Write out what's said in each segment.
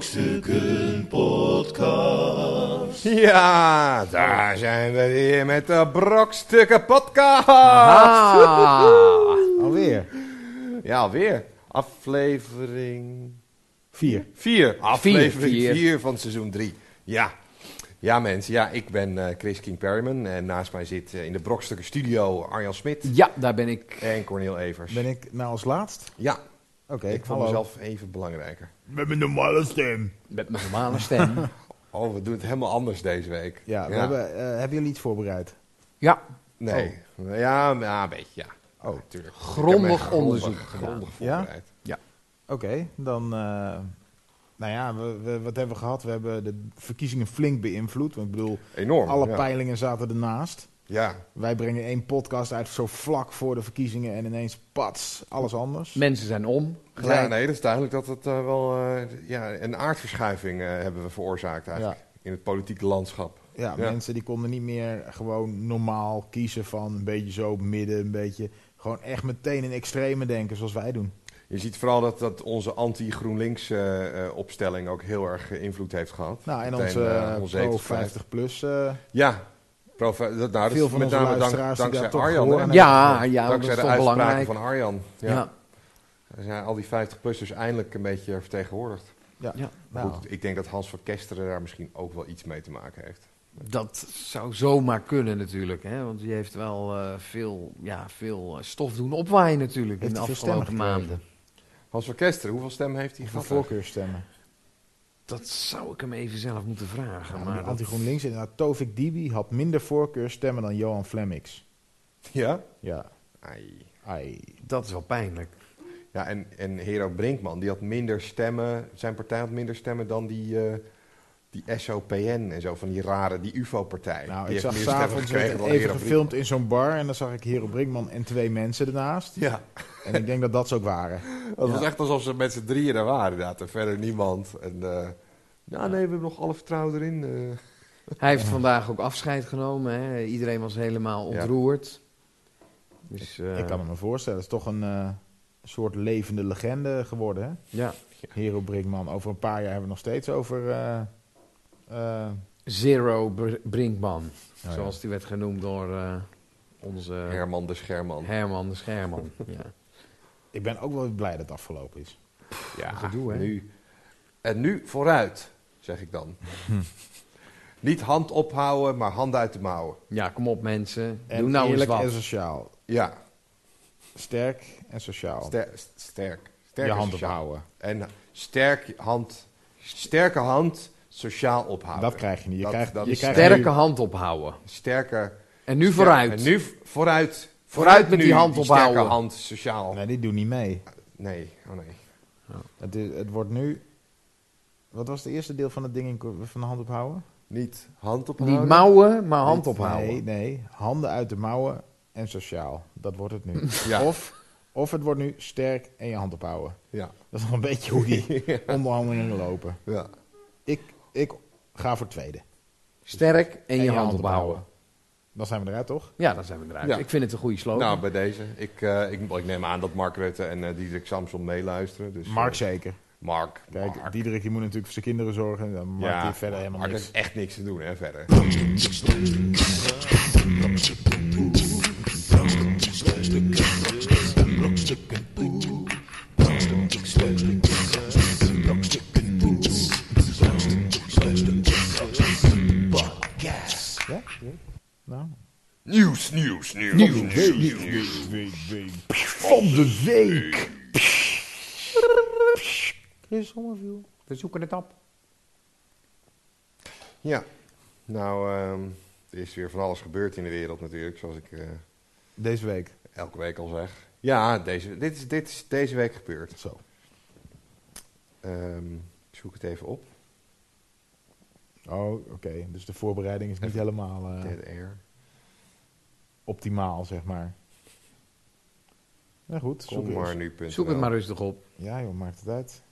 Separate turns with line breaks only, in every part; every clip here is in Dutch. Brokstukken Podcast.
Ja, daar zijn we weer met de Brokstukken Podcast.
Alweer.
Ja, weer. Aflevering
Vier.
4.
Ah, vier.
Aflevering 4 van seizoen 3. Ja. ja, mensen. Ja, ik ben eh, Chris King Perryman. En naast mij zit eh, in de Brokstukken Studio Arjan Smit
Ja, daar ben ik.
en Cornel Evers.
Ben ik nou als laatst?
Ja,
Oké,
ik vond mezelf even belangrijker.
Met mijn normale stem.
Met mijn normale stem.
Oh, we doen het helemaal anders deze week.
Ja, we Hebben, eh, hebben jullie iets voorbereid?
Ja,
Nee. Ja, maar ja, een beetje, ja.
Oh.
natuurlijk. Ik heb
Grondig
me
onderzoek gedaan.
Grondig
Ja?
voorbereid.
Oké, dan... eh, nou ja, we, we- wat hebben we gehad? We hebben de verkiezingen flink beïnvloed. Want ik bedoel,
Enorm.
alle
ja.
peilingen zaten ernaast.
Ja,
Wij brengen één podcast uit zo vlak voor de verkiezingen en ineens pats, alles anders.
mensen zijn om. Gelijk.
ja, nee, dat is duidelijk dat het eh, wel eh, ja, een aardverschuiving eh, hebben we veroorzaakt eigenlijk in het politieke landschap.
Ja,
Ja.
mensen die konden niet meer gewoon normaal kiezen van een beetje zo midden, een beetje... Gewoon echt meteen in extreme denken zoals wij doen.
Je ziet vooral dat, dat onze anti-GroenLinks eh, eh, opstelling ook heel erg eh, invloed heeft gehad.
Nou, en
Meteen,
onze
eh,
eh,
onze
pro
zetels kwijt.
50 plus... eh,
Ja, pro, dat, nou, dat
Veel
is
van
met
onze
name dank,
luisteraars die
dankzij
daar toch
Arjan.
gehoor
hè?
aan
Ja, ja, dat
dankzij
is
de
toch
uitspraken
belangrijk.
van Arjan. Ja.
ja.
Er Zijn al die 50-plussers eindelijk een beetje vertegenwoordigd.
ja.
Ja.
Maar
Nou,
Goed, ik denk dat Hans van Kesteren daar misschien ook wel iets mee te maken heeft.
dat zou zomaar kunnen natuurlijk. Hè? Want die heeft wel eh, veel, ja, veel eh, stof doen opwaaien natuurlijk
Heeft
in de
hij veel
afgelopen
stemmen
maanden.
Hans van Kesteren, hoeveel stemmen heeft hij
voor
gehad? eigenlijk?
voorkeurstemmen.
Dat zou ik hem even zelf moeten vragen.
Ja,
maar dat-
Anti-GroenLinks, inderdaad. Tovik Dibi had minder voorkeurstemmen dan Johan Flemmix.
Ja?
Ja,
Ai.
ai.
dat is wel pijnlijk.
Ja, en, en Hero Brinkman, die had minder stemmen, zijn partij had minder stemmen dan die, eh, die SOPN en zo, van die rare, die UFO-partij. die
Nou, ik
heeft
zag
meer stemmen
s'avonds
gekregen
werd
dan
even
Hero
gefilmd in zo'n bar en dan zag ik Hero Brinkman en twee mensen ernaast.
Brinkman.
En ik denk dat dat ze ook waren.
Ja, dat was echt alsof ze met z'n drieën daar waren, inderdaad, en verder niemand. En, eh, ja, nee, we hebben nog alle vertrouwen erin. eh.
Hij heeft vandaag ook afscheid genomen. Hè? Iedereen was helemaal
Ja.
ontroerd. Dus, eh,
Ik kan me voorstellen, het is toch een eh, soort levende legende geworden, hè?
ja,
Hero Brinkman. Over een paar jaar hebben we nog steeds over... eh, eh,
Zero Br- Brinkman.
Oh, ja.
zoals die werd genoemd door eh, onze...
Herman de Scherman.
Herman de Scherman. ja.
ik ben ook wel blij dat het afgelopen is.
ja,
gedoe, hè?
Ah, Nu. En nu vooruit, zeg ik dan. Niet hand ophouden, maar hand uit de mouwen.
ja, kom op mensen.
En
Doe nou eens
eerlijk
wat.
en sociaal.
Ja,
Sterk en sociaal.
ster- sterk. Sterk
je
en
hand
sociaal.
ophouden.
En sterk hand, sterke hand sociaal ophouden.
Dat krijg je niet. Je
Dat-
krijgt,
dat
je
is
krijgt
Sterke
nu-
hand ophouden.
Sterke,
En nu
ster-
vooruit.
En nu v- vooruit.
Vooruit met die hand
Sterke
ophouden.
hand sociaal. Nee.
Nee, die doen niet mee.
oh nee.
Het, is- het wordt nu... Wat was het eerste deel van het ding in ko- van de hand ophouden?
Niet hand ophouden.
Niet mouwen, maar hand
Niet-
ophouden.
Nee, nee. Handen uit de mouwen en sociaal. Dat wordt het nu.
Ja.
Of, of het wordt nu sterk en je hand ophouden.
Ja,
Dat is nog een beetje hoe die onderhandelingen lopen.
ja.
Ik, ik ga voor tweede.
Sterk en, je, hand, ophouden.
Dan zijn we eruit, toch?
Ja, dan zijn we eruit.
Ja.
Ik vind het een goede slogan.
Nou, bij deze. Ik, eh, ik, ik neem aan dat Mark Rutte en eh, Diederik Samson meeluisteren. Dus, eh,
Mark zeker.
Mark.
Kijk,
Mark.
Diederik die moet natuurlijk voor zijn kinderen zorgen. Dan maakt hij verder helemaal
Mark
niks.
heeft echt niks te doen, hè, verder.
Ja? Nou,
Nieuws, nieuws, nieuws. Nieuws, nieuws, nieuws.
Van de week. Chris Sommerviel.
We zoeken het op.
Ja, nou, ehm, er is weer van alles gebeurd in de wereld natuurlijk, zoals ik eh,
Deze week.
elke week al zeg. Ja, deze, dit, is, dit is deze week gebeurd.
Zo.
Ehm, ik zoek het even op.
Oh, oké. Dus de voorbereiding is niet helemaal eh,
Dead Air.
optimaal, zeg maar. Nou goed.
Kom
zoek
maar
eens.
nu. punt
Zoek het
nl.
maar rustig op.
Ja joh, maakt het uit.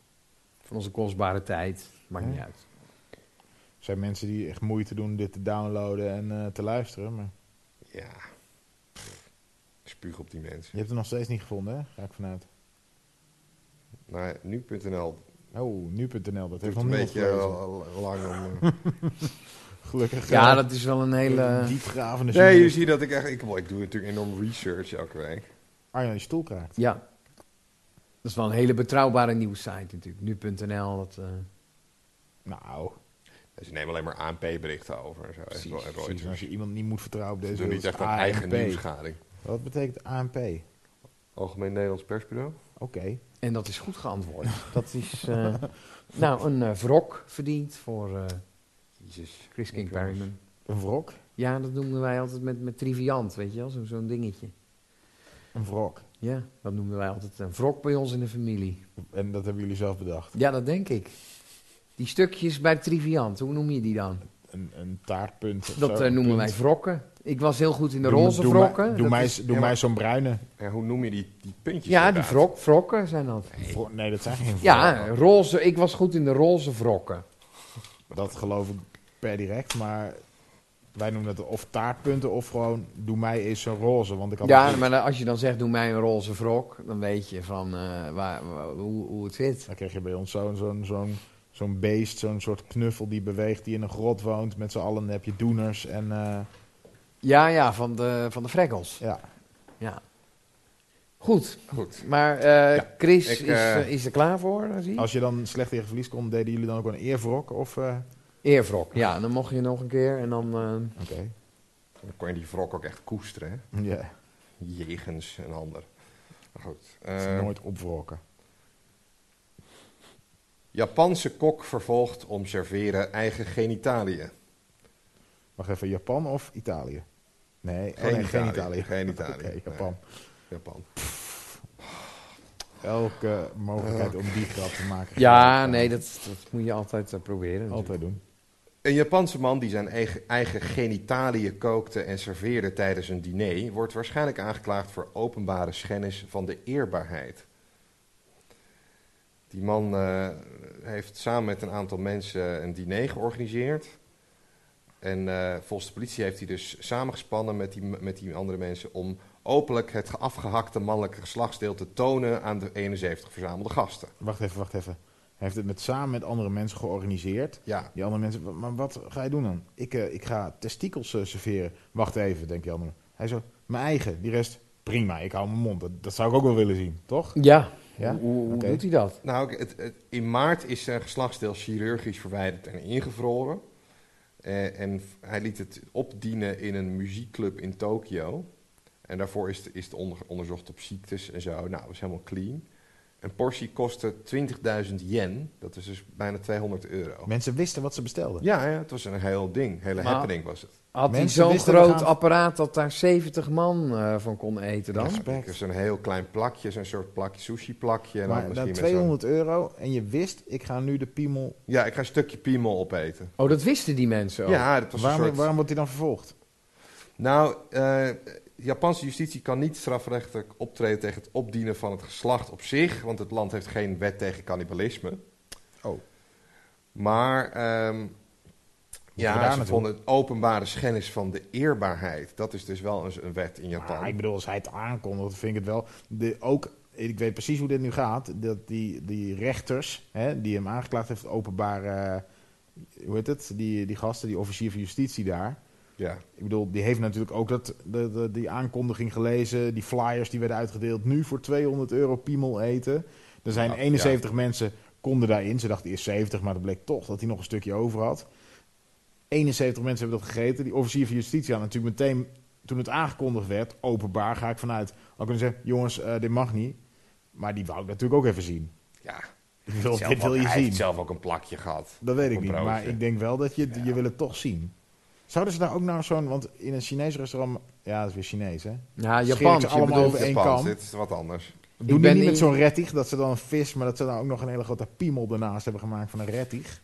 Van onze kostbare tijd. Maakt
Ja.
niet uit.
Er zijn mensen die echt moeite doen dit te downloaden en eh, te luisteren. Maar
Ja. Pff, Spuug op die mensen.
je hebt het nog steeds niet gevonden, hè? Ga ik vanuit.
Nou, nu.nl
Oh, nu.nl, dat heeft
Duurt
nog
een
niemand
beetje
gelezen.
eh, lang om... eh,
Gelukkig.
Ja,
eh,
dat is wel een hele...
diepgravende
nee, je
journalist.
ziet dat ik echt... Ik, wel, ik doe natuurlijk enorm research elke week.
Arjan Ah, je stoel kraakt.
Ja. Dat is wel een hele betrouwbare nieuwssite natuurlijk. Nu.nl, dat... eh,
Nou,
Oh, Ze nemen Dus alleen maar ANP-berichten over. en Zo. Echt wel, en
precies, als
Reuters.
je iemand niet moet vertrouwen op
Ze
deze
doen niet
wereld,
echt
is
een eigen
ANP.
nieuwsgading.
Wat betekent ANP? Oké,
Algemeen Nederlands Persbureau.
en dat is goed geantwoord. dat is... eh, nou, een eh wrok verdiend voor eh,
Jezus.
Chris King Perryman.
een wrok.
Ja, dat noemden wij altijd met, met triviant, weet je wel? Zo- Zo'n dingetje.
Een wrok.
Ja, dat noemden wij altijd een wrok bij ons in de familie.
En dat hebben jullie zelf bedacht.
Ja, dat denk ik. Die stukjes bij Triviant, hoe noem je die dan?
Een, een taartpunt. of
Dat
zo,
eh,
een
noemen
punt.
wij wrokken. Ik was heel goed in de
Doe-
roze
doe
wrokken.
mij- Doe,
Dat
mij,
is-
eens- doe
Ja,
mij
maar-
zo'n bruine.
Ja, hoe noem je die, die puntjes?
ja, die
inderdaad?
wrok, wrokken zijn dat.
Vro- Nee, dat zijn geen wrokken.
Ja, roze. Ik was goed in de roze wrokken.
Dat geloof ik per direct, maar wij noemen dat of taartpunten of gewoon doe mij eens een roze. Want ik had
Ja,
natuurlijk-
maar dan- als je dan zegt, doe mij een roze wrok, dan weet je van eh, waar, waar- hoe, hoe het zit.
Dan kreeg je bij ons zo'n zo'n zo'n zo'n beest, zo'n soort knuffel die beweegt, die in een grot woont. Met z'n allen heb je doeners en eh,
Ja, ja, van de, van de freckles.
ja.
Ja. Goed,
Goed.
maar eh,
Ja,
Chris
ik,
is,
eh,
eh, is er klaar voor, eh, zie je?
Als je dan slecht tegen verlies kon, deden jullie dan ook een eerwrok? Of, eh,
Eerwrok, ja. Dan mocht je nog een keer en dan... eh,
Oké.
Dan kon je die wrok ook echt koesteren, hè?
Ja,
Jegens een ander. Maar goed.
het is
eh,
nooit opwrokken.
Japanse kok vervolgd om serveren eigen genitaliën.
Wacht even, Japan of Italië? Nee, oh, nee,
Geen
geen,
Italië,
Italië.
geen Italië,
Oké, Japan.
Japan.
Elke mogelijkheid om die grap te maken.
Ja, nee, dat, dat moet je altijd eh, proberen.
Altijd doen.
Een Japanse man die zijn eigen, eigen genitaliën kookte en serveerde tijdens een diner... wordt waarschijnlijk aangeklaagd voor openbare schennis van de eerbaarheid. Die man eh, heeft samen met een aantal mensen een diner georganiseerd. En eh, volgens de politie heeft hij dus samengespannen met die, met die andere mensen... om openlijk het afgehakte mannelijke geslachtsdeel te tonen aan de 71 verzamelde gasten.
Wacht even, wacht even. Hij heeft het met, samen met andere mensen georganiseerd.
Ja,
Die andere mensen, "Wa- maar wat ga je doen dan? Ik, eh, ik ga testikels eh, serveren. Wacht even, denkt die andere. Hij zo, mijn eigen. Die rest, prima, ik hou mijn mond. Dat, dat zou ik ook wel willen zien, toch?
Ja,
Ja?
hoe, hoe- hoe
Oké.
doet hij dat?
Nou, ik- het, het- in maart is zijn geslachtsdeel chirurgisch verwijderd en ingevroren. Eh, en v- hij liet het opdienen in een muziekclub in Tokio. En daarvoor is het, is het onder- onderzocht op ziektes en zo. Nou, dat is helemaal clean. Een portie kostte 20.000 yen. Dat is dus bijna 200 euro.
Mensen wisten wat ze bestelden.
Ja, ja, het was een heel ding. Hele
Maar-
happening was het.
Had hij
Mensen
zo'n
wisten, we
groot
gaan-
apparaat dat daar 70 man eh, van kon eten dan?
Ja, het is een heel klein plakje, zo'n soort plakje, sushi plakje. En dan
maar
nou, misschien
dan
met zo'n...
200 euro en je wist, ik ga nu de piemel...
Ja, ik ga een stukje piemel opeten.
Oh, dat wisten die mensen ook?
Ja, dat was
Waarom,
een soort...
waarom wordt hij dan vervolgd?
Nou, eh, Japanse justitie kan niet strafrechtelijk optreden tegen het opdienen van het geslacht op zich, want het land heeft geen wet tegen cannibalisme.
Oh.
Maar ehm
daar
ja, ze
naartoe?
vonden het openbare schennis van de eerbaarheid. Dat is dus wel eens een wet in Japan.
Ah, ik bedoel, als hij het aankondigt, vind ik het wel. De, ook, ik weet precies hoe dit nu gaat. Dat die, die rechters, hè, die hem aangeklaagd heeft, openbaar... eh, hoe heet het? Die, die gasten, die officier van justitie daar...
Ja.
Ik bedoel, die heeft natuurlijk ook dat, de, de- die aankondiging gelezen. Die flyers die werden uitgedeeld. Nu voor 200 euro piemel eten. Er zijn
Ja,
71 mensen konden daarin. Ze dachten eerst 70, maar dat bleek toch dat hij nog een stukje over had. 71 mensen hebben dat gegeten. Die officier van justitie had natuurlijk meteen, toen het aangekondigd werd, openbaar ga ik vanuit. Al kunnen zeggen, jongens, eh, dit mag niet. Maar die wou ik natuurlijk ook even zien.
ja.
Ik wil-
Zelf
dit wil
ook-
je
hij heeft
zien.
zelf ook een plakje gehad.
Dat weet ik
Een
niet,
broodje.
maar ik denk wel dat je, je wil het toch zien. Zouden ze daar ook nou zo'n, want in een Chinees restaurant, ja, dat is weer Chinees, hè?
Ja,
Scheren
Japan.
ze
je
allemaal
bedoelt-
over één
Japans,
kam.
dit is wat anders.
Doen die
ben
niet
in-
met zo'n rettig, dat ze dan een vis, maar dat ze dan ook nog een hele grote piemel ernaast hebben gemaakt van een rettig.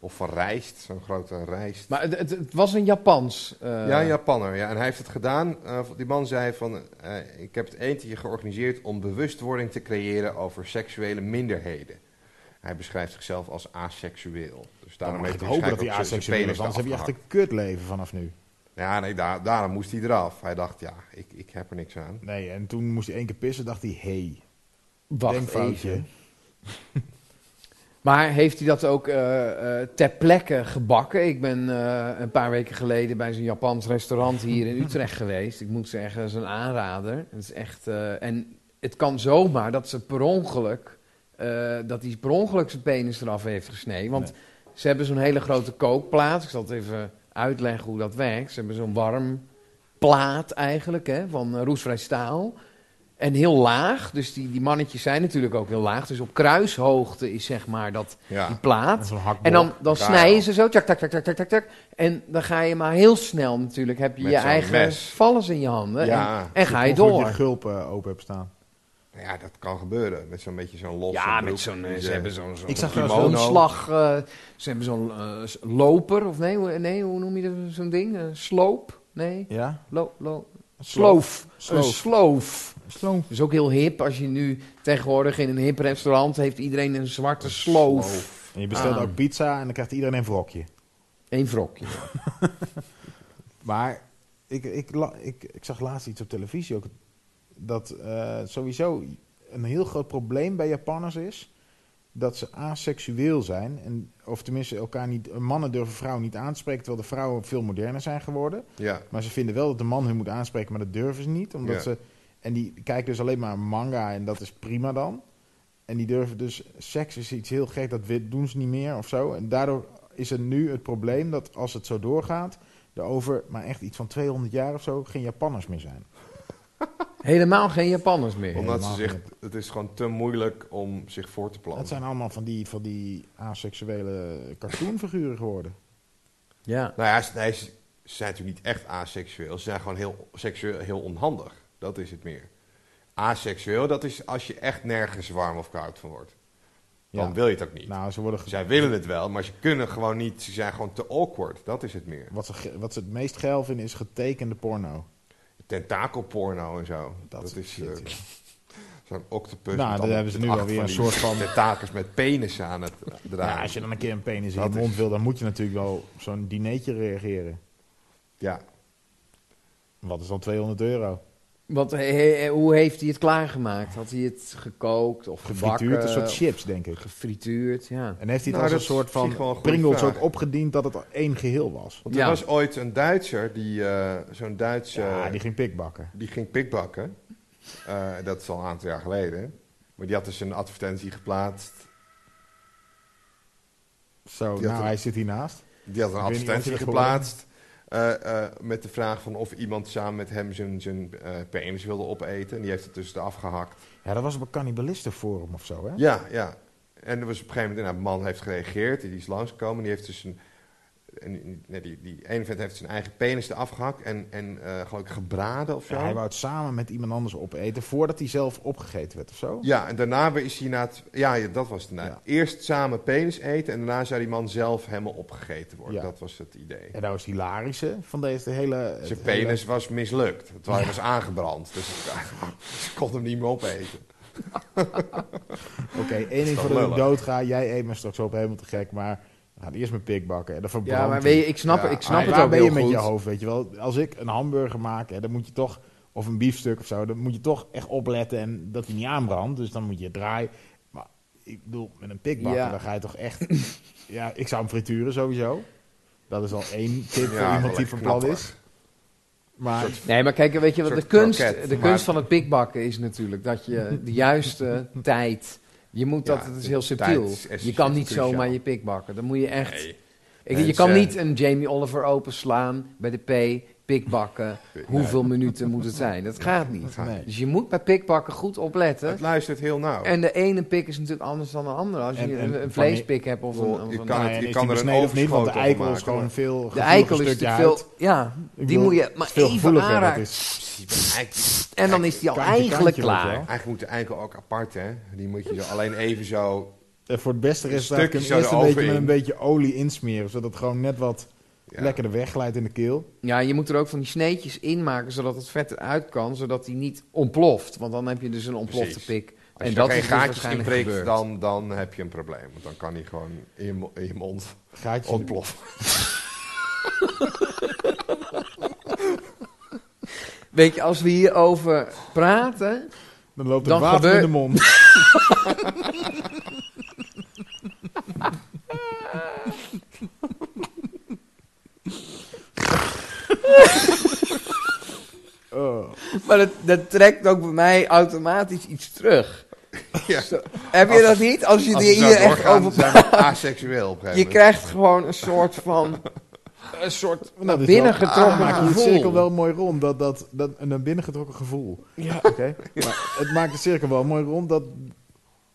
Of van rijst, zo'n grote rijst.
Maar het, het, het was een Japans... eh,
Ja, een Japanner. Ja. En hij heeft het gedaan. eh, die man zei van, eh, ik heb het eentje georganiseerd om bewustwording te creëren over seksuele minderheden. Hij beschrijft zichzelf als aseksueel. Dus daarom
Mag
heeft
ik
hij
hopen dat hij
waarschijnlijk ook zijn- zijn
asexueel is,
penis
anders heb je echt
afgehakt.
een kutleven vanaf nu.
Ja, nee, daar- daarom moest hij eraf. Hij dacht, ja, ik, ik heb er niks aan.
Nee, en toen moest hij één keer pissen, dacht hij, hé, hey,
Wacht
denkfoutje.
even. Maar heeft hij dat ook eh, eh, ter plekke gebakken? Ik ben eh, een paar weken geleden bij zo'n Japans restaurant hier in Utrecht geweest. Ik moet zeggen, dat is een aanrader. Het is echt, eh, en het kan zomaar dat ze per ongeluk, eh, dat hij per ongeluk zijn penis eraf heeft gesneden. Want ze hebben zo'n hele grote kookplaat. Ik zal het even uitleggen hoe dat werkt. Ze hebben zo'n warm plaat eigenlijk, hè, van eh, roestvrij staal. En heel laag, dus die, die mannetjes zijn natuurlijk ook heel laag. Dus op kruishoogte is zeg maar dat die
Ja.
En
plaat.
zo'n hakblok.
En dan, dan
Daar
snijden
al.
ze zo, tak, tak, tak, tak, tak, tak, tak. En dan ga je maar heel snel natuurlijk, heb je
Met
je
zo'n
eigen
mes.
vallers in je handen.
Ja.
En, en ga je
Ongeluk dat
door.
je gulpen open hebt staan.
Nou ja, dat kan gebeuren. Met zo'n beetje zo'n losse
Ja,
broek.
met zo'n, eh,
Die,
ze
eh,
hebben zo'n zo'n
Ik zag
zo'n
trouwens wel-
omslag, eh, ze hebben zo'n eh, s- loper, of nee, hoe- nee, hoe noem je dat, zo'n ding? Eh, sloop? Nee,
Ja?
lo, lo,
Sloof.
sloof.
Sloof.
Een sloof.
Sloof.
Dat is ook heel hip, als je nu tegenwoordig in een hip restaurant heeft iedereen een zwarte sloof.
En je bestelt
Ah.
ook pizza en dan krijgt iedereen een wrokje.
Eén wrokje.
Maar ik, ik, la- ik, ik zag laatst iets op televisie ook. Dat eh, sowieso een heel groot probleem bij Japanners is. Dat ze aseksueel zijn. En, of tenminste, elkaar niet, mannen durven vrouwen niet aanspreken. Terwijl de vrouwen veel moderner zijn geworden.
Ja,
Maar ze vinden wel dat de man hun moet aanspreken. Maar dat durven ze niet. Omdat
Ja.
ze, en die kijken dus alleen maar manga. En dat is prima dan. En die durven dus. Seks is iets heel gek. Dat we- doen ze niet meer of zo. En daardoor is er nu het probleem dat als het zo doorgaat. Er over maar echt iets van 200 jaar of zo geen Japanners meer zijn.
Helemaal geen Japanners meer.
omdat ze
helemaal
zich, het is gewoon te moeilijk om zich voor te
Dat
plannen.
zijn allemaal van die, van die asexuele cartoonfiguren geworden.
Ja.
Nou ja, ze, nee, ze ze zijn natuurlijk niet echt aseksueel. Ze zijn gewoon heel, seksueel, heel onhandig. Dat is het meer. Aseksueel, dat is als je echt nergens warm of koud van wordt. Dan
Ja.
wil je het ook niet.
Nou, ze worden ge-
Zij willen het wel, maar ze kunnen gewoon niet. Ze zijn gewoon te awkward. Dat is het meer.
wat, ze, ge- wat ze het meest geil vinden is getekende porno.
Tentakelporno en zo. Dat,
soort
is
shit,
eh,
ja.
zo'n octopus.
Nou, daar
allemaal-
hebben ze nu
met
wel
acht
weer
van
een
die
soort van-
Tentakels met penis aan het eh, draaien.
Ja, als je dan een keer een penis in
Dat
je mond wil, dan moet je natuurlijk wel op zo'n dineetje reageren.
Ja.
Wat is dan 200 euro?
Want he- he- hoe heeft hij het klaargemaakt? Had hij het gekookt of
Gefrituurd,
gebakken,
een soort
of
chips, denk ik.
Gefrituurd, ja.
En heeft hij het
Nou,
als
dat
een
is
soort
misschien wel een
van
goede
Pringles
vraag.
ook opgediend dat het één geheel was?
Want er
Ja.
was ooit een Duitser die eh, zo'n Duitse.
Ja, die
die...
ging pikbakken.
ging pikbakken. Eh, dat is al een aantal jaar geleden. Maar die had dus een advertentie geplaatst.
Zo,
Die had
nou,
een-
hij zit hiernaast.
Die had een
Ik weet niet of je
advertentie
dat
geplaatst. eh, eh, met de vraag van of iemand samen met hem zijn, zijn eh, penis wilde opeten. En die heeft het dus eraf gehakt.
Ja, dat was op een cannibalistenforum of zo, hè?
Ja, ja. En er was op een gegeven moment, nou, een man heeft gereageerd, die is langsgekomen, die heeft dus een. En, nee, die, die ene vent heeft zijn eigen penis eraf gehakt en, en eh, geloof ik gebraden of zo.
Ja, hij wou het samen met iemand anders opeten voordat hij zelf opgegeten werd of zo.
Ja, en daarna is hij na het. Ja, ja, dat was het daarna.
Ja.
Eerst samen penis eten en daarna zou die man zelf helemaal opgegeten worden.
Ja.
Dat was het idee.
En dat was het hilarische van deze hele... eh,
zijn
het hele-
penis was mislukt. Het was, was aangebrand. Dus ze kon hem niet meer opeten.
Oké, één ding
toch
voordat ik
lullig?
doodga. Jij eet me straks op helemaal te gek, maar... we gaan eerst mijn pikbakken en dan verbrandt
Ja, maar
hij.
weet je, ik snap,
Ja,
ik
maar
snap
Maar
het
waar
ook
ben
heel
je met
goed.
je hoofd, weet je wel? Als ik een hamburger maak, hè, dan moet je toch... Of een biefstuk of zo, dan moet je toch echt opletten en dat hij niet aanbrandt. Dus dan moet je het draaien. Maar ik bedoel, met een pikbakker,
Ja.
dan ga je toch echt... ja, ik zou hem frituren sowieso. Dat is al één tip
Ja,
voor
wel
iemand die
lekker
van plan
knapperig.
is. Maar
Nee, maar kijk, weet je wat
Een
de
soort
kunst,
kroket,
de
maar-
kunst van het pikbakken is natuurlijk dat je de juiste tijd. Je moet dat,
Ja,
het is
de
heel
tijd
subtiel.
is echt
Je kan niet
cruciaal.
zomaar je pikbakken. Dan moet je echt.
Nee.
Ik, je
Mensen-
kan niet een Jamie Oliver openslaan bij de P, pikbakken. Hoeveel minuten moet het zijn? Dat gaat niet.
Nee.
Dus je moet bij pikbakken goed opletten.
Het luistert heel nauw.
En de ene pik is natuurlijk anders dan de andere. Als je
En- en
een, een
van-
vleespik hebt of een.
Bedoel,
Of
je kan
een-
Nou
het-
ja,
je
is
kan
die
er een
besneden of niet, want de
overschotel
eikel is
maken,
gewoon
maar-
veel
de
gevoeliger
eikel is
stukje
natuurlijk
huid.
veel. Ja,
Ik
die
bedoel,
moet je
het
maar
is veel
even
gevoeliger. dat
aanraken.
is-
Dus
En dan is die al
Kantje,
eigenlijk
kantje, weet je
klaar.
wel.
Eigenlijk moet de eikel ook apart, hè? Die moet je zo alleen even zo.
eh, voor het beste resultaat
stukje
kun je
zo
eerst een
erover
beetje met
in.
een beetje olie insmeren. Zodat het gewoon net wat
Ja.
lekkerder wegglijdt in de keel.
Ja, je moet er ook van die sneetjes in maken, zodat het vet eruit kan, zodat die niet ontploft. Want dan heb je dus een ontplofte
Precies.
pik.
Als je daar
en dat
geen
is dus
gaatjes in
waarschijnlijk
prikt,
gebeurd.
dan, dan heb je een probleem. Want dan kan hij gewoon in je, mo- in je mond
Gaatjes in de-
ontploffen.
Weet je, als we hierover praten,
Dan loopt er
Dan
water in
gebeurt-
de mond. Oh.
Maar dat, dat trekt ook bij mij automatisch iets terug.
Ja.
Zo, heb je
Als-
dat niet? Als je
Als
die
we zo
hier echt
doorgaan,
over...
zijn we aseksueel op een gegeven
Je
moment.
krijgt gewoon een soort van... Een soort
Nou,
naar
dus
binnen
wel-
getrokken
maak je het
gevoel.
cirkel wel mooi rond. Dat, dat, dat, een naar binnen getrokken gevoel. Ja. Maar het maakt de cirkel wel mooi rond dat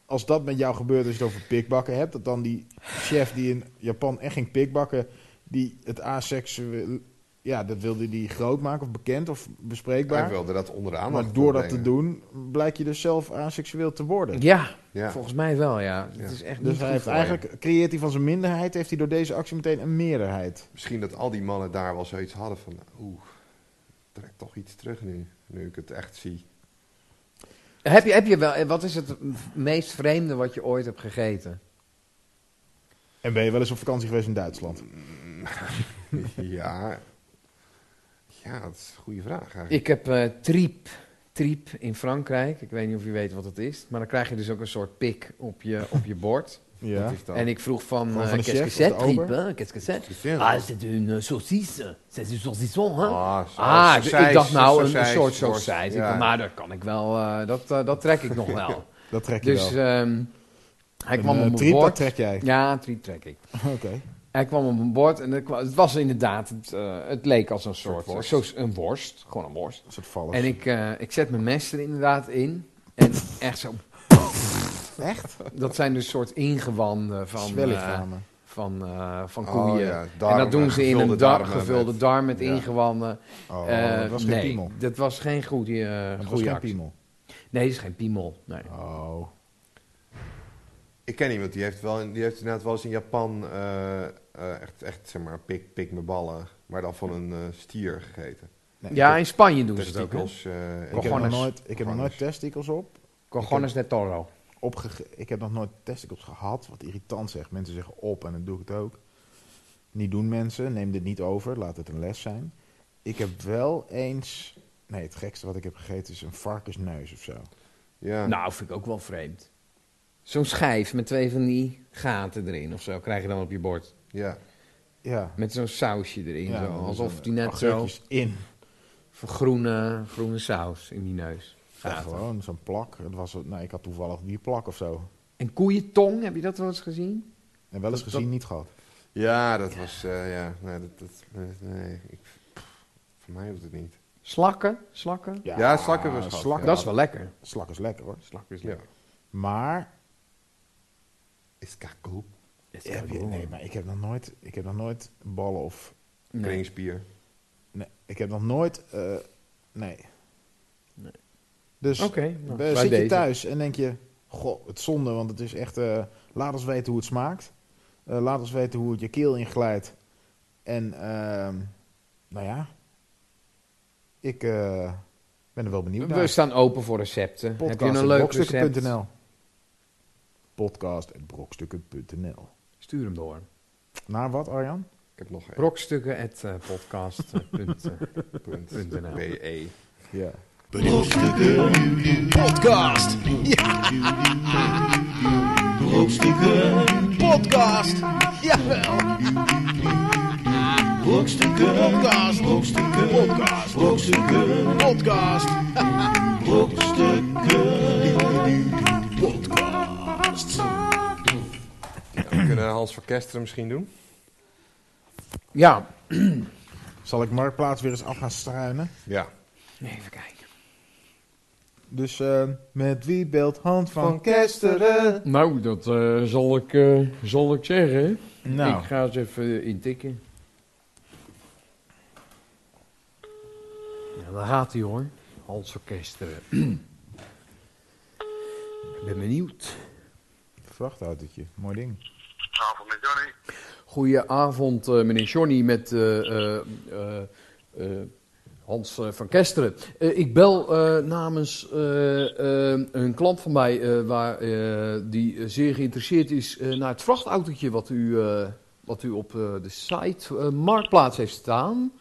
als dat met jou gebeurt, als je het over pikbakken hebt, dat dan die chef die in Japan echt ging pikbakken, die het aseksueel, ja, dat wilde die groot maken of bekend of
Hij
bespreekbaar.
wilde dat onderaan.
Maar door dat te doen, blijk je dus zelf aseksueel te worden.
Ja,
Ja.
volgens mij wel, ja.
Ja.
Het is echt
Dus
niet
hij
goed
heeft
voor je.
eigenlijk, creëert hij van zijn minderheid, heeft hij door deze actie meteen een meerderheid.
Misschien dat al die mannen daar wel zoiets hadden van... Oeh, trek toch iets terug nu. Nu ik het echt zie.
Heb je, heb je wel... Wat is het meest vreemde wat je ooit hebt gegeten?
En ben je wel eens op vakantie geweest in Duitsland?
ja. Ja, dat is een goede vraag eigenlijk.
Ik heb eh, triep. Triep in Frankrijk. Ik weet niet of je weet wat het is. Maar dan krijg je dus ook een soort pik op je, op je bord.
Ja.
Wat is dat?
En ik vroeg van...
Gewoon
eh,
van de
qu'est-ce
chef
que
of de
c'est, triep,
ober?
hè? Qu'est-ce que c'est?
Gezellig.
Ah, c'est une eh, saucisse. C'est une saucisson, hè?
Ah, zo-
Ah,
sausijs,
ik dacht nou een, een
sausijs,
soort
worst.
sausijs. Ik
Ja.
dacht, Maar dat kan ik wel, eh, dat, eh, dat trek ik nog wel.
Dat trek je
dus
wel.
ehm, hij
Een,
kwam
eh,
op mijn
triep, dat
bord.
trek jij.
Ja, een triep trek ik.
Oké.
Hij kwam op mijn bord en er kwa- het was inderdaad, het, eh, het leek als een soort,
soort worst.
Zo, een worst, gewoon een worst.
Een soort vallen.
En ik, eh, ik zet mijn mes er inderdaad in en echt zo,
Echt?
dat zijn dus soort ingewanden van, eh,
Zwellichamen.
van, eh, van koeien.
Oh, ja,
en
darmen,
dat doen ze in
gevulde
een da-
darmen
gevulde
met-
darm met
ja.
ingewanden.
oh,
Eh,
dat was geen
nee,
piemel.
dat was geen goede, eh,
Dat was
goede
geen
actie.
piemel.
Nee, dat is geen piemel. Nee.
Oh.
Ik ken iemand die heeft, wel, in- die heeft inderdaad wel eens in Japan eh, eh, echt, echt zeg maar pik, pik me ballen, maar dan van een eh, stier gegeten.
Nee,
Ja,
ik,
in Spanje doen ze het ook. hè?
Testikels. eh,
heb- ik heb nog
cojones.
nooit, ik heb nog nooit testicles op.
Cojones de toro.
Opgege ik heb nog nooit testicles gehad. Wat irritant zeg. Mensen zeggen op en dan doe ik het ook. Niet doen mensen. Neem dit niet over. Laat het een les zijn. Ik heb wel eens... Nee, het gekste wat ik heb gegeten is een varkensneus of zo.
Ja.
Nou, vind ik ook wel vreemd. Zo'n schijf met twee van die gaten erin of zo krijg je dan op je bord.
ja.
Ja.
Met zo'n sausje erin.
Ja,
zo.
dan
Alsof
zo'n
die net zo
augurkjes in.
van groene, groene saus in die neus
Ja,
gaat.
gewoon zo'n plak. Het was, nou, ik had toevallig die plak of zo.
En koeientong, heb je dat wel eens gezien?
En wel eens
Dat-
gezien,
dat-
niet gehad.
Ja, dat was. eh, ja, nee, dat, dat, nee ik, pff, voor mij hoeft het niet.
Slakken, slakken. Oh,
Ja, slak hebben we gehad,
slak,
ja.
Dat is wel lekker.
Slak is lekker hoor.
Slak is
Ja.
Maar,
Is kakko.
heb je, nee, maar ik, heb nog nooit, ik heb nog nooit ballen of...
Nee.
Kringspier.
Nee, ik heb nog nooit... eh, nee.
Nee.
Dus
Oké, nou,
eh,
bij
zit je
deze.
thuis en denk je... Goh, het zonde, want het is echt... eh, laat ons weten hoe het smaakt. Eh, laat ons weten hoe het je keel inglijdt. En, ehm, nou ja... Ik eh, ben er wel benieuwd naar.
We staan open voor recepten. Heb je
Podcast
een
at
leuk recept?
brokstukken.nl. Podcast.brokstukken.nl.
Stuur hem door.
Naar wat, Arjan?
Ik heb nog een
Brokstukken at eh, podcast, eh, punt, eh,
punt.
punt NL.
BE.
Ja.
Brokstukken podcast. Ja. Brokstukken podcast. Jawel. Brokstukken podcast. Brokstukken podcast. Brokstukken podcast. Brokstukken podcast.
We kunnen Hans van Kesteren misschien doen.
Ja,
Zal ik Marktplaats weer eens af gaan struinen?
Ja.
even kijken.
Dus eh, met wie belt Hans van, Kesteren?
Nou, dat eh, zal, ik, eh, zal ik zeggen.
Nou,
Ik ga eens even eh, intikken. Ja, daar gaat hij hoor. Halsorkesteren. ik ben benieuwd.
vrachtautootje. Mooi ding.
Avond met Johnny.
Goedenavond, eh, meneer Johnny, met eh, eh, eh, eh, Hans eh, van Kesteren. Eh, ik bel eh, namens eh, eh, een klant van mij eh, waar, eh, die eh, zeer geïnteresseerd is eh, naar het vrachtautootje wat u, eh, wat u op eh, de site eh, Marktplaats heeft staan.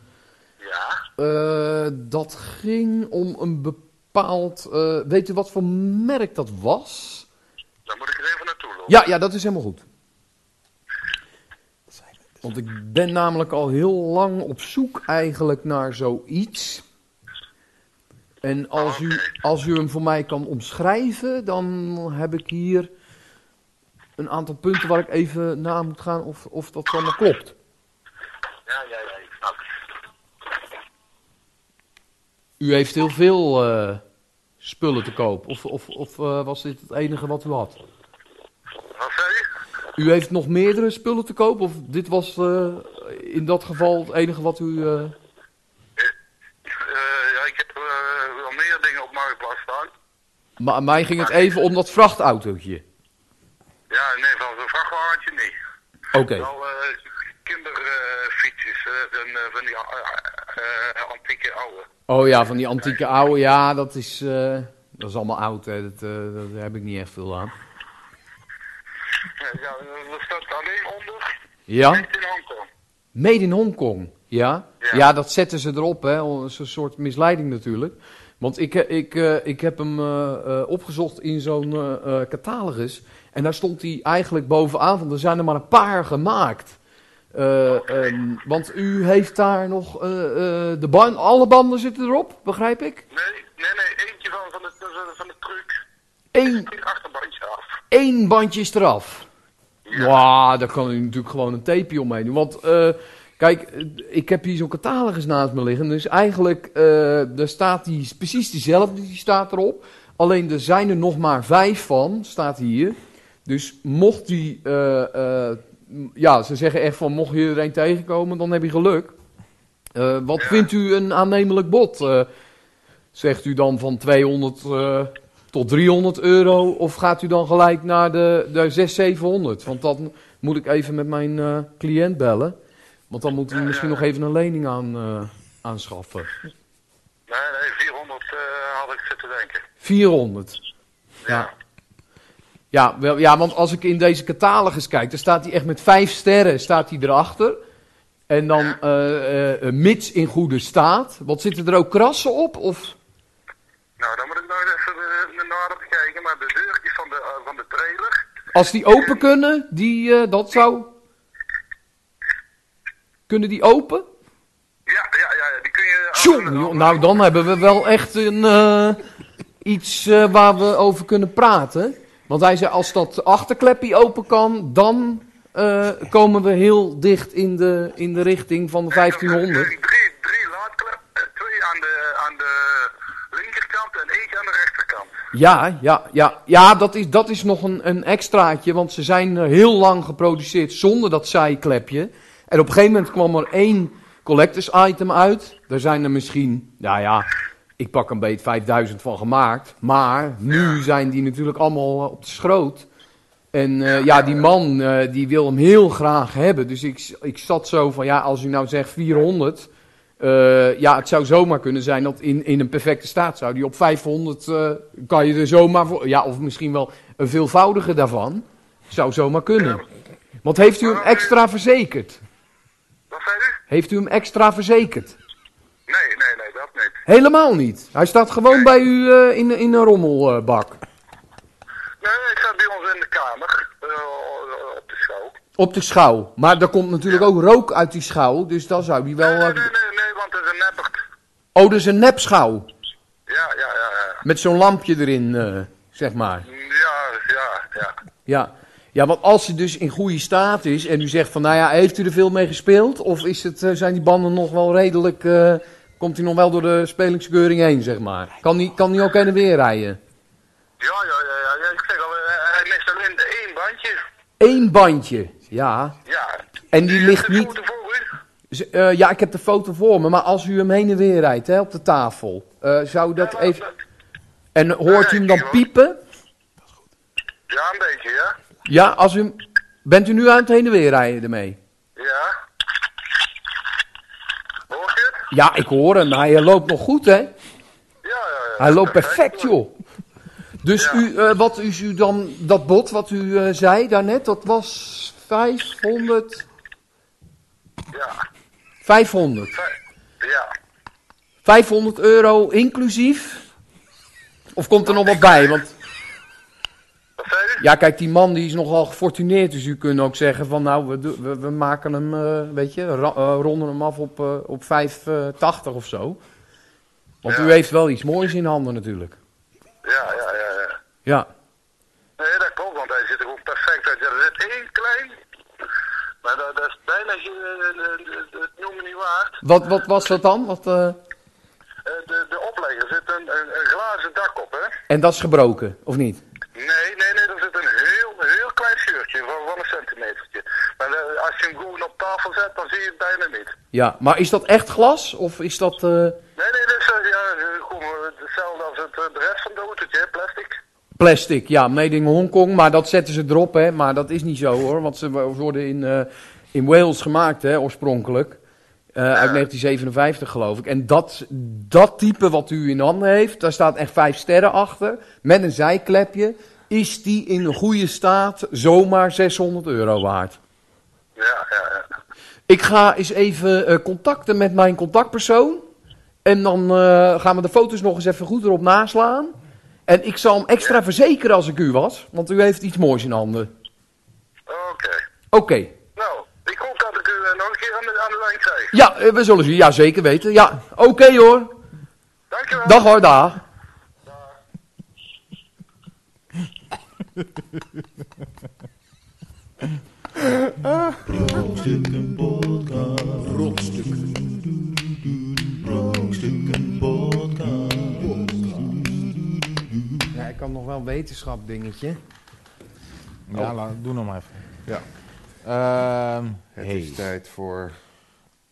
Ja,
Eh, dat ging om een bepaald. eh, weet u wat voor merk dat was?
dan moet ik er even naartoe lopen.
Ja, ja, dat is helemaal goed. Want ik ben namelijk al heel lang op zoek eigenlijk naar zoiets. En als u, als u hem voor mij kan omschrijven, dan heb ik hier een aantal punten waar ik even na moet gaan of, of dat allemaal klopt.
Ja, ja, ja, ik snap het.
U heeft heel veel eh, spullen te koop. Of, of, of eh, was dit het enige wat u had?
Wat zei je?
U heeft nog meerdere spullen te koop? Of dit was eh, in dat geval het enige wat u... eh,
Eh, ja, ik heb eh, wel meer dingen op Marktplaats staan.
Maar aan mij ging het even om dat vrachtautootje.
Ja, nee, van zo'n vrachtwagentje niet.
Oké.
Wel eh, kinderfietsjes, eh, en, eh, van die eh, eh, antieke oude.
Oh ja, van die antieke oude. Ja, dat is, eh, dat is allemaal oud. Hè. Dat, eh, daar heb ik niet echt veel aan.
Eh, Ja, dat staat alleen onder.
Ja?
Niet in Hongkong.
Made in Hongkong. Ja?
Ja.
Ja, dat zetten ze erop. hè. Zo'n soort misleiding natuurlijk. Want ik, eh, ik, eh, ik heb hem eh, eh, opgezocht in zo'n eh, eh, catalogus. En daar stond hij eigenlijk bovenaan. Want er zijn er maar een paar gemaakt. Eh, ehm, want u heeft daar nog... eh, eh, de ban alle banden zitten erop, begrijp ik?
Nee, nee, nee, eentje van, van, de, van, de truc.
Eén
Die achterbandje af.
één bandje is eraf. Ja, daar kan u natuurlijk gewoon een tapeje omheen doen. Want eh, kijk, eh, ik heb hier zo'n catalogus naast me liggen. Dus eigenlijk, eh, daar staat die, precies diezelfde, die staat erop. Alleen er zijn er nog maar vijf van, staat hier. Dus mocht die, eh, eh, m- ja, ze zeggen echt van, mocht je er een tegenkomen, dan heb je geluk. Eh, wat vindt u een aannemelijk bod? Eh, zegt u dan van 200 eh, tot 300 euro? Of gaat u dan gelijk naar de, de 600, 700? Want dan moet ik even met mijn eh, cliënt bellen. Want dan moeten we misschien nog even een lening aan, eh, aanschaffen.
Nee, nee, 400 eh, had ik zitten denken.
400. Ja. Ja, wel, ja, want als ik in deze catalogus kijk, dan staat hij echt met vijf sterren staat hij erachter. En dan eh, eh, mits in goede staat. Wat zitten er ook krassen op? Of...
Nou, dan moet ik nog even eh, naar op kijken, maar de deurtjes van de, eh, van de trailer,
Als die open kunnen, die, eh, dat zou. Kunnen die open?
ja, ja, ja, ja, die kun je...
Tjoe, joh, nou dan hebben we wel echt een, eh, iets eh, waar we over kunnen praten. Want hij zei, als dat achterklepje open kan, dan eh, komen we heel dicht in de, in de richting van de 1500.
Eh, Drie, drie laadklep, eh, twee aan de, aan de linkerkant en eentje aan de rechterkant.
Ja, ja, ja. Ja, dat is, dat is nog een, een extraatje. Want ze zijn eh, heel lang geproduceerd zonder dat zijklepje. En op een gegeven moment kwam er één collectors item uit. Daar zijn er misschien, nou ja, ik pak een beetje 5000 van gemaakt. Maar nu zijn die natuurlijk allemaal eh, op de schroot. En eh, ja, die man eh, die wil hem heel graag hebben. Dus ik, ik zat zo van, ja, als u nou zegt 400... Eh, ja, het zou zomaar kunnen zijn dat in, in een perfecte staat zou die op 500 eh, kan je er zomaar voor. Ja, of misschien wel een veelvoudige daarvan. Zou zomaar kunnen. Want heeft u hem extra verzekerd?
Wat zei u?
Heeft u hem extra verzekerd?
Nee, nee, nee, dat niet.
Helemaal niet. Hij staat gewoon bij u eh, in, in een rommelbak.
Nee, hij staat bij ons in de kamer, eh, op de schouw.
Op de schouw. Maar er komt natuurlijk ook rook uit die schouw. Dus dan zou die wel.
Nee,
eh,
nee, nee, nee, want het is een neppert.
Oh, dat is een nepschouw.
Ja, ja, ja, ja.
Met zo'n lampje erin, eh, zeg maar.
Ja, ja, ja.
Ja. ja, want als hij dus in goede staat is en u zegt van, nou ja, heeft u er veel mee gespeeld? Of is het, eh, zijn die banden nog wel redelijk, eh, komt hij nog wel door de spelingskeuring heen, zeg maar? Kan die, kan die ook heen en weer rijden?
Ja, ja, ja, ja, ja, ik zeg al, eh, hij mist alleen de één bandje.
Eén bandje, ja.
Ja. Dus
En die ligt
De
niet...
voeten voor u.
Z- eh, ja, ik heb de foto voor me, maar als u hem heen en weer rijdt, hè, op de tafel, eh, zou dat
Ja,
even... En hoort u hem dan piepen?
Ja, een beetje, ja.
Ja, als u... hem- Bent u nu aan het heen en weer rijden ermee?
Ja. Hoor je het?
Ja, ik hoor hem. Hij eh, loopt nog goed, hè?
Ja, ja, ja.
Hij loopt perfect, joh. Dus u, eh, wat is u dan, dat bod wat u eh, zei daarnet, dat was 500.
Ja.
500.
Ja.
500 euro inclusief? Of komt er nog wat bij? Want
Wat zei u?
Ja, kijk, die man die is nogal gefortuneerd. Dus u kunt ook zeggen van nou, we, do- we, we maken hem, eh, weet je, ra- eh, ronden hem af op, eh, op 580 of zo. Want
Ja.
u heeft wel iets moois in handen natuurlijk.
Ja, ja, ja, ja.
Ja,
Nee, dat klopt, want hij zit er ook perfect uit. Ja, Er zit één klein, maar dat, dat is bijna geen, eh, eh, eh, het noemen niet waard.
wat, wat was dat dan? Wat, eh,
Eh, de, de oplegger zit een, een, een glazen dak op, hè?
En dat is gebroken, of niet?
Nee, nee, nee, er zit een heel, heel klein scheurtje van, van een centimetertje. Maar eh, als je hem goed op tafel zet, dan zie je het bijna niet.
Ja, maar is dat echt glas? Of is dat... eh,
Nee, nee, dat is eh, ja, eh, goed, eh, hetzelfde als het, eh, de rest van de autootje, hè, plastic.
Plastic, ja, made in Hongkong, maar dat zetten ze erop, hè. Maar dat is niet zo, hoor, want ze wo- worden in, eh, in Wales gemaakt, hè, oorspronkelijk. Eh, uit 1957, geloof ik. En dat, dat type wat u in handen heeft, daar staat echt vijf sterren achter, met een zijklepje. Is die in een goede staat zomaar 600 euro waard?
Ja, ja, ja.
Ik ga eens even eh, contacten met mijn contactpersoon. En dan eh, gaan we de foto's nog eens even goed erop naslaan. En ik zal hem extra verzekeren als ik u was. Want u heeft iets moois in handen.
Oké.
Oké.
Nou, ik hoop dat ik u eh, nog een keer aan de, aan de lijn krijg.
Ja, eh, we zullen ze ja, zeker weten. Ja, oké hoor.
Dankjewel.
Dag hoor, dag.
Brokstukken podcast. Brokstukken. Brokstukken podcast.
Ja, ik kan nog wel wetenschap dingetje. Oh.
Ja, laat- doe nog maar even.
Ja.
Ehm,
Het
hey.
is tijd voor...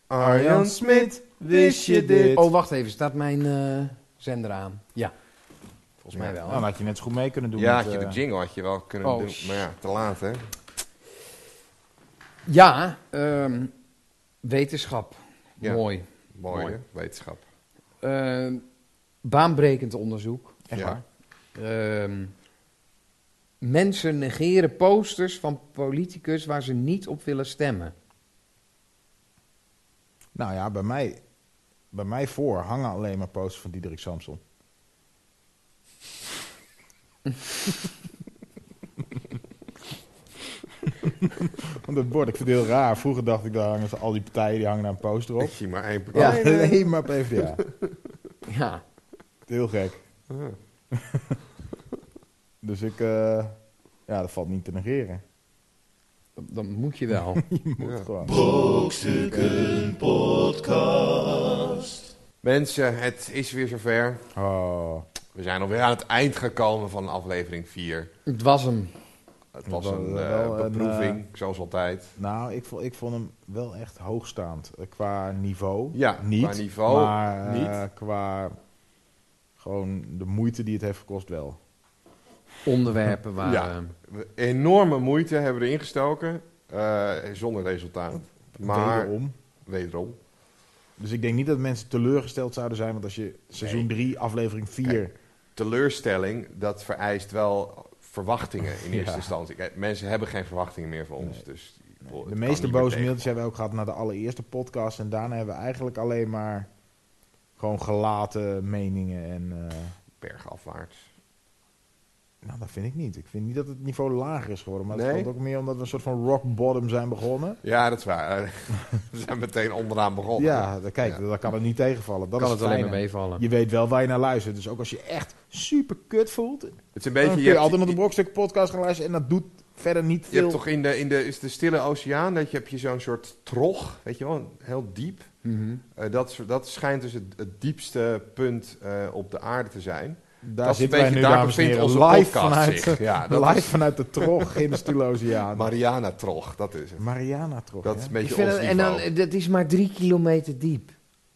Arjan Smit, wist je dit?
Oh, wacht even. Staat mijn eh, zender aan? Ja. Volgens mij wel.
Nou, dan had je net zo goed mee kunnen doen.
ja,
met,
had je de
eh,
jingle had je wel kunnen
Oh,
doen,
shit.
maar ja, te laat hè.
Ja, ehm, wetenschap.
Ja.
Mooi.
Mooi,
Mooi.
hè? wetenschap.
Ehm, baanbrekend onderzoek.
Echt
Ja.
waar?
Ehm, mensen negeren posters van politicus waar ze niet op willen stemmen.
Nou ja, bij mij, bij mij voor hangen alleen maar posters van Diederik Samson. Want dat bord, ik vind het heel raar. Vroeger dacht ik, daar hangen ze- al die partijen die hangen daar een poster op.
Ik zie maar één
Ja.
Oh,
Alleen maar PvdA.
Ja.
Heel gek.
Ah.
dus ik, eh, ja, dat valt niet te negeren.
Dat, dat moet je wel.
Je moet gewoon.
Brokstukken podcast.
Mensen, het is weer zover.
Oh,
We zijn alweer aan het eind gekomen van aflevering 4.
Het was hem.
Het was
Wel-
een eh,
wel een,
beproeving, zoals altijd.
nou, ik vond, ik vond hem wel echt hoogstaand. Eh, Qua niveau.
Ja,
niet.
qua niveau,
Maar eh,
niet.
qua gewoon de moeite die het heeft gekost wel.
Onderwerpen waren.
Ja. We- Enorme moeite hebben we erin gestoken, eh, zonder resultaat. Maar,
Wederom.
wederom.
Dus ik denk niet dat mensen teleurgesteld zouden zijn. Want als je seizoen 3, aflevering 4...
Teleurstelling, dat vereist wel verwachtingen in eerste
Ja.
instantie. Kijk, mensen hebben geen verwachtingen meer van ons. Dus, boh, het
De
kan
meeste
niet meer
boze
tegen.
mailtjes hebben we ook gehad naar de allereerste podcast. En daarna hebben we eigenlijk alleen maar gewoon gelaten meningen. En eh,
Bergafwaarts.
nou, dat vind ik niet. Ik vind niet dat het niveau lager is geworden. Maar dat
Nee?
komt ook meer omdat we een soort van rock bottom zijn begonnen.
Ja, dat is waar. we zijn meteen onderaan begonnen.
Ja, dan- kijk,
Ja.
dat kan het niet tegenvallen. Dat
kan
is
het alleen maar
fijne.
meevallen.
Je weet wel waar je naar luistert. Dus ook als je echt super kut voelt,
Het is een
dan
beetje...
kun
je
je
hebt-
altijd naar de Brokstuk podcast gaan luisteren. En dat doet verder niet
Je
veel.
hebt toch in de, in de, is de stille oceaan, dat je, heb je zo'n soort trog, weet je wel, heel diep.
Mhm.
Eh, dat, is- dat schijnt dus het, het diepste punt eh, op de aarde te zijn.
Daar
dat is een
zitten wij
beetje,
nu,
daar
dames en
bevindt
heren,
onze
live
podcast
vanuit,
zich. Ja, dat
live
is
vanuit de trog in de Stille Oceaan.
Mariana trog, dat is het.
Mariana trog,
Dat is
hè?
een
Ik
beetje
vind
ons
dat, en dan,
niveau.
eh, dat is maar drie kilometer diep.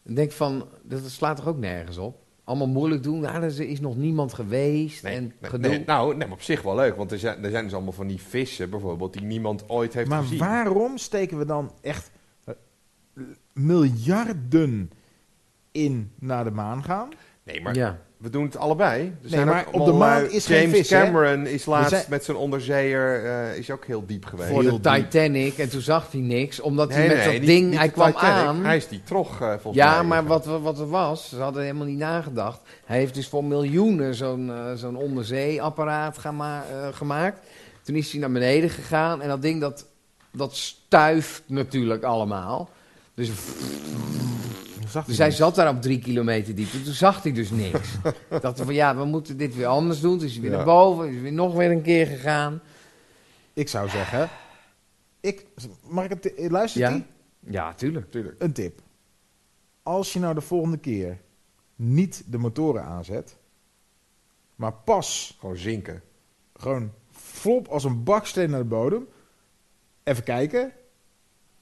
Ik denk van, dat slaat toch ook nergens op? Allemaal moeilijk doen. Ja, er is nog niemand geweest.
Nee,
en
nee,
gedoe.
nee, nou, nee, maar op zich wel leuk, want er zijn, er zijn dus allemaal van die vissen bijvoorbeeld die niemand ooit heeft
Maar
gezien.
waarom steken we dan echt eh, miljarden in naar de maan gaan?
Nee, maar
ja.
We doen het allebei. Er
Nee,
zijn
maar
ook
op de
allemaal,
maan
eh,
is geen
James
vis, hè?
Cameron is laatst
zijn-
met zijn onderzeeër eh, is ook heel diep geweest.
voor de
Heel diep.
Titanic. En toen zag hij niks, omdat
Nee,
hij met
nee,
dat
niet-
ding,
niet
hij
de
kwam
Titanic.
aan.
Hij is die trog eh, volgens mij.
ja, maar wat, wat er was, ze hadden helemaal niet nagedacht. Hij heeft dus voor miljoenen zo'n eh, zo'n onderzeeapparaat gema- eh, gemaakt. Toen is hij naar beneden gegaan en dat ding dat, dat stuift natuurlijk allemaal. Dus,
Zag
dus
hij
hij zat daar op drie kilometer diepte. Toen zag hij dus niks. Dacht hij van ja, we moeten dit weer anders doen. Toen is hij weer
Ja.
naar boven, is hij weer nog weer een keer gegaan.
Ik zou zeggen... Ik, mag ik het... Luistert
Ja.
die?
Ja, tuurlijk.
Een tip. Als je nou de volgende keer niet de motoren aanzet... maar pas
Gewoon zinken.
gewoon flop als een baksteen naar de bodem... even kijken...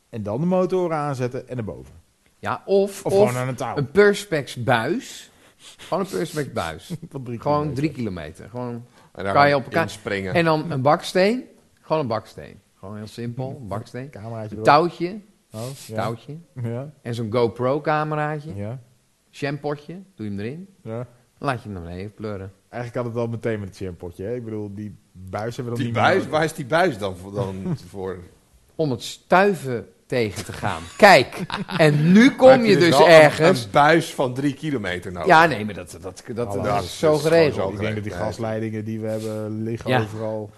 en dan de motoren aanzetten en naar boven.
Ja, of,
Of
of,
gewoon aan een touw.
een perspex buis. Gewoon een perspex buis.
Van drie
Gewoon
kilometer.
drie kilometer. Gewoon.
En daar
Kan je op elkaar-
springen.
En dan een baksteen. Gewoon een baksteen. Gewoon heel simpel, een baksteen.
Cameraatje
Een
erop.
touwtje,
Oh, ja.
touwtje.
Ja,
En zo'n GoPro-cameraatje.
ja,
Shampootje, doe je hem erin.
ja.
Dan laat je hem naar beneden pleuren.
Eigenlijk had het al meteen met het shampootje. hè? Ik bedoel, die buis hebben we dan
die
niet
buis,
meer nodig.
waar is die buis dan voor? Dan voor?
Om het stuiven tegen te gaan. Kijk, en nu kom
Heb
je
dus
dus
wel een-
ergens.
Een buis van drie kilometer nodig.
Ja, nee, maar dat, dat, dat, dat
Hallo.
is
Dat is
zo
gewoon
geregeld.
zo.
Ik denk dat die
Nee.
gasleidingen die we hebben liggen
Ja.
overal.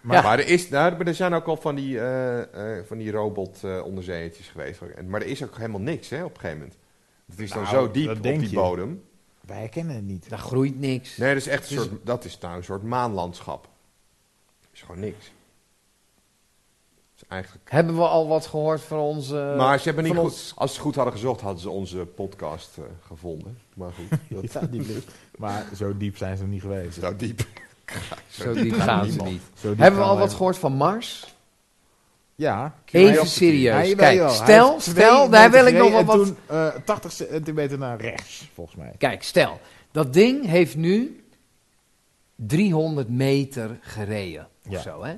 Maar,
Ja.
maar er, is, nou, er zijn ook al van die, eh, eh, van die robot eh onderzeeëtjes geweest. En- Maar er is ook helemaal niks hè, op een gegeven moment. Het is dan
Nou,
zo diep
dat
op
denk
die
je.
bodem.
Wij herkennen het niet.
Nou,
Daar groeit niks.
Nee, dat is echt een
Het is-
soort, dat is nou een soort maanlandschap. Dat is gewoon niks. Dat is eigenlijk...
Hebben we al wat gehoord van onze.
Eh,
maar ze hebben niet
van
goed,
ons-
als ze het goed hadden gezocht, hadden ze onze podcast eh, gevonden. Maar goed, dat
Ja, die ligt. Maar zo diep zijn ze nog niet geweest.
is nou diep.
Zo diep gaan ze niet.
Zo diep
Hebben we
gaan
al wat
even-
gehoord van Mars?
Ja.
Even
Ja,
serieus.
jawel,
Kijk,
joh. Hij
stel,
heeft
stel,
2
daar wil ik
meter
nog wel
gereden
wat.
en Toen, eh 80 centimeter naar rechts, volgens mij.
Kijk, stel, dat ding heeft nu 300 meter gereden. Of
Ja.
zo, hè?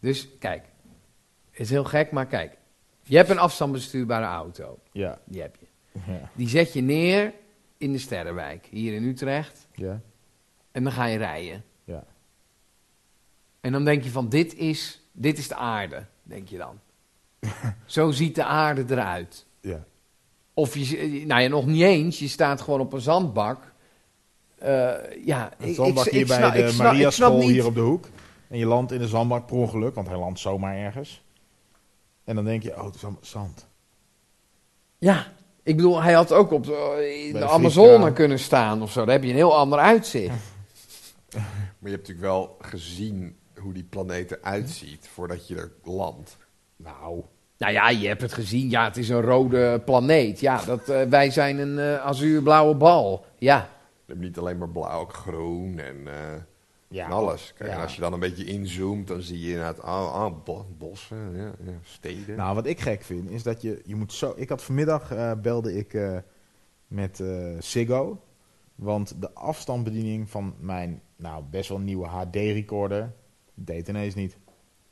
Dus kijk, is heel gek, maar kijk. Je hebt een afstandsbestuurbare auto.
Ja.
Die heb je.
Ja.
Die zet je neer in de Sterrenwijk, hier in Utrecht.
Ja.
En dan ga je rijden.
ja.
En dan denk je van, dit is, dit is de aarde, denk je dan. Zo ziet de aarde eruit.
ja.
Of je, nou ja, nog niet eens, je staat gewoon op een zandbak. Eh, ja,
Een zandbak hier bij
snap-
de
ik snap-
Maria
ik snap
School
niet-
hier op de hoek. En je landt in de zandbak per ongeluk, want hij landt zomaar ergens. En dan denk je, oh, het is allemaal zand.
Ja, ik bedoel, hij had ook op de, in
de
de Amazone
vliegkraan.
kunnen staan of zo. Daar heb je een heel ander uitzicht.
Maar je hebt natuurlijk wel gezien hoe die planeet eruit ziet voordat je er landt.
Nou.
Nou ja, je hebt het gezien. Ja, het is een rode planeet. Ja, dat, eh, wij zijn een eh, azuurblauwe bal. Ja,
Je hebt niet alleen maar blauw, ook groen en, eh,
Ja.
en alles. Kijk, En
Ja.
als je dan een beetje inzoomt, dan zie je inderdaad ah, ah, bo- bossen, ja, ja, steden.
Nou, wat ik gek vind, is dat je, je moet zo... Ik had vanmiddag, eh, belde ik eh, met eh Siggo. Want de afstandsbediening van mijn, nou, best wel nieuwe HD-recorder... deed ineens niet.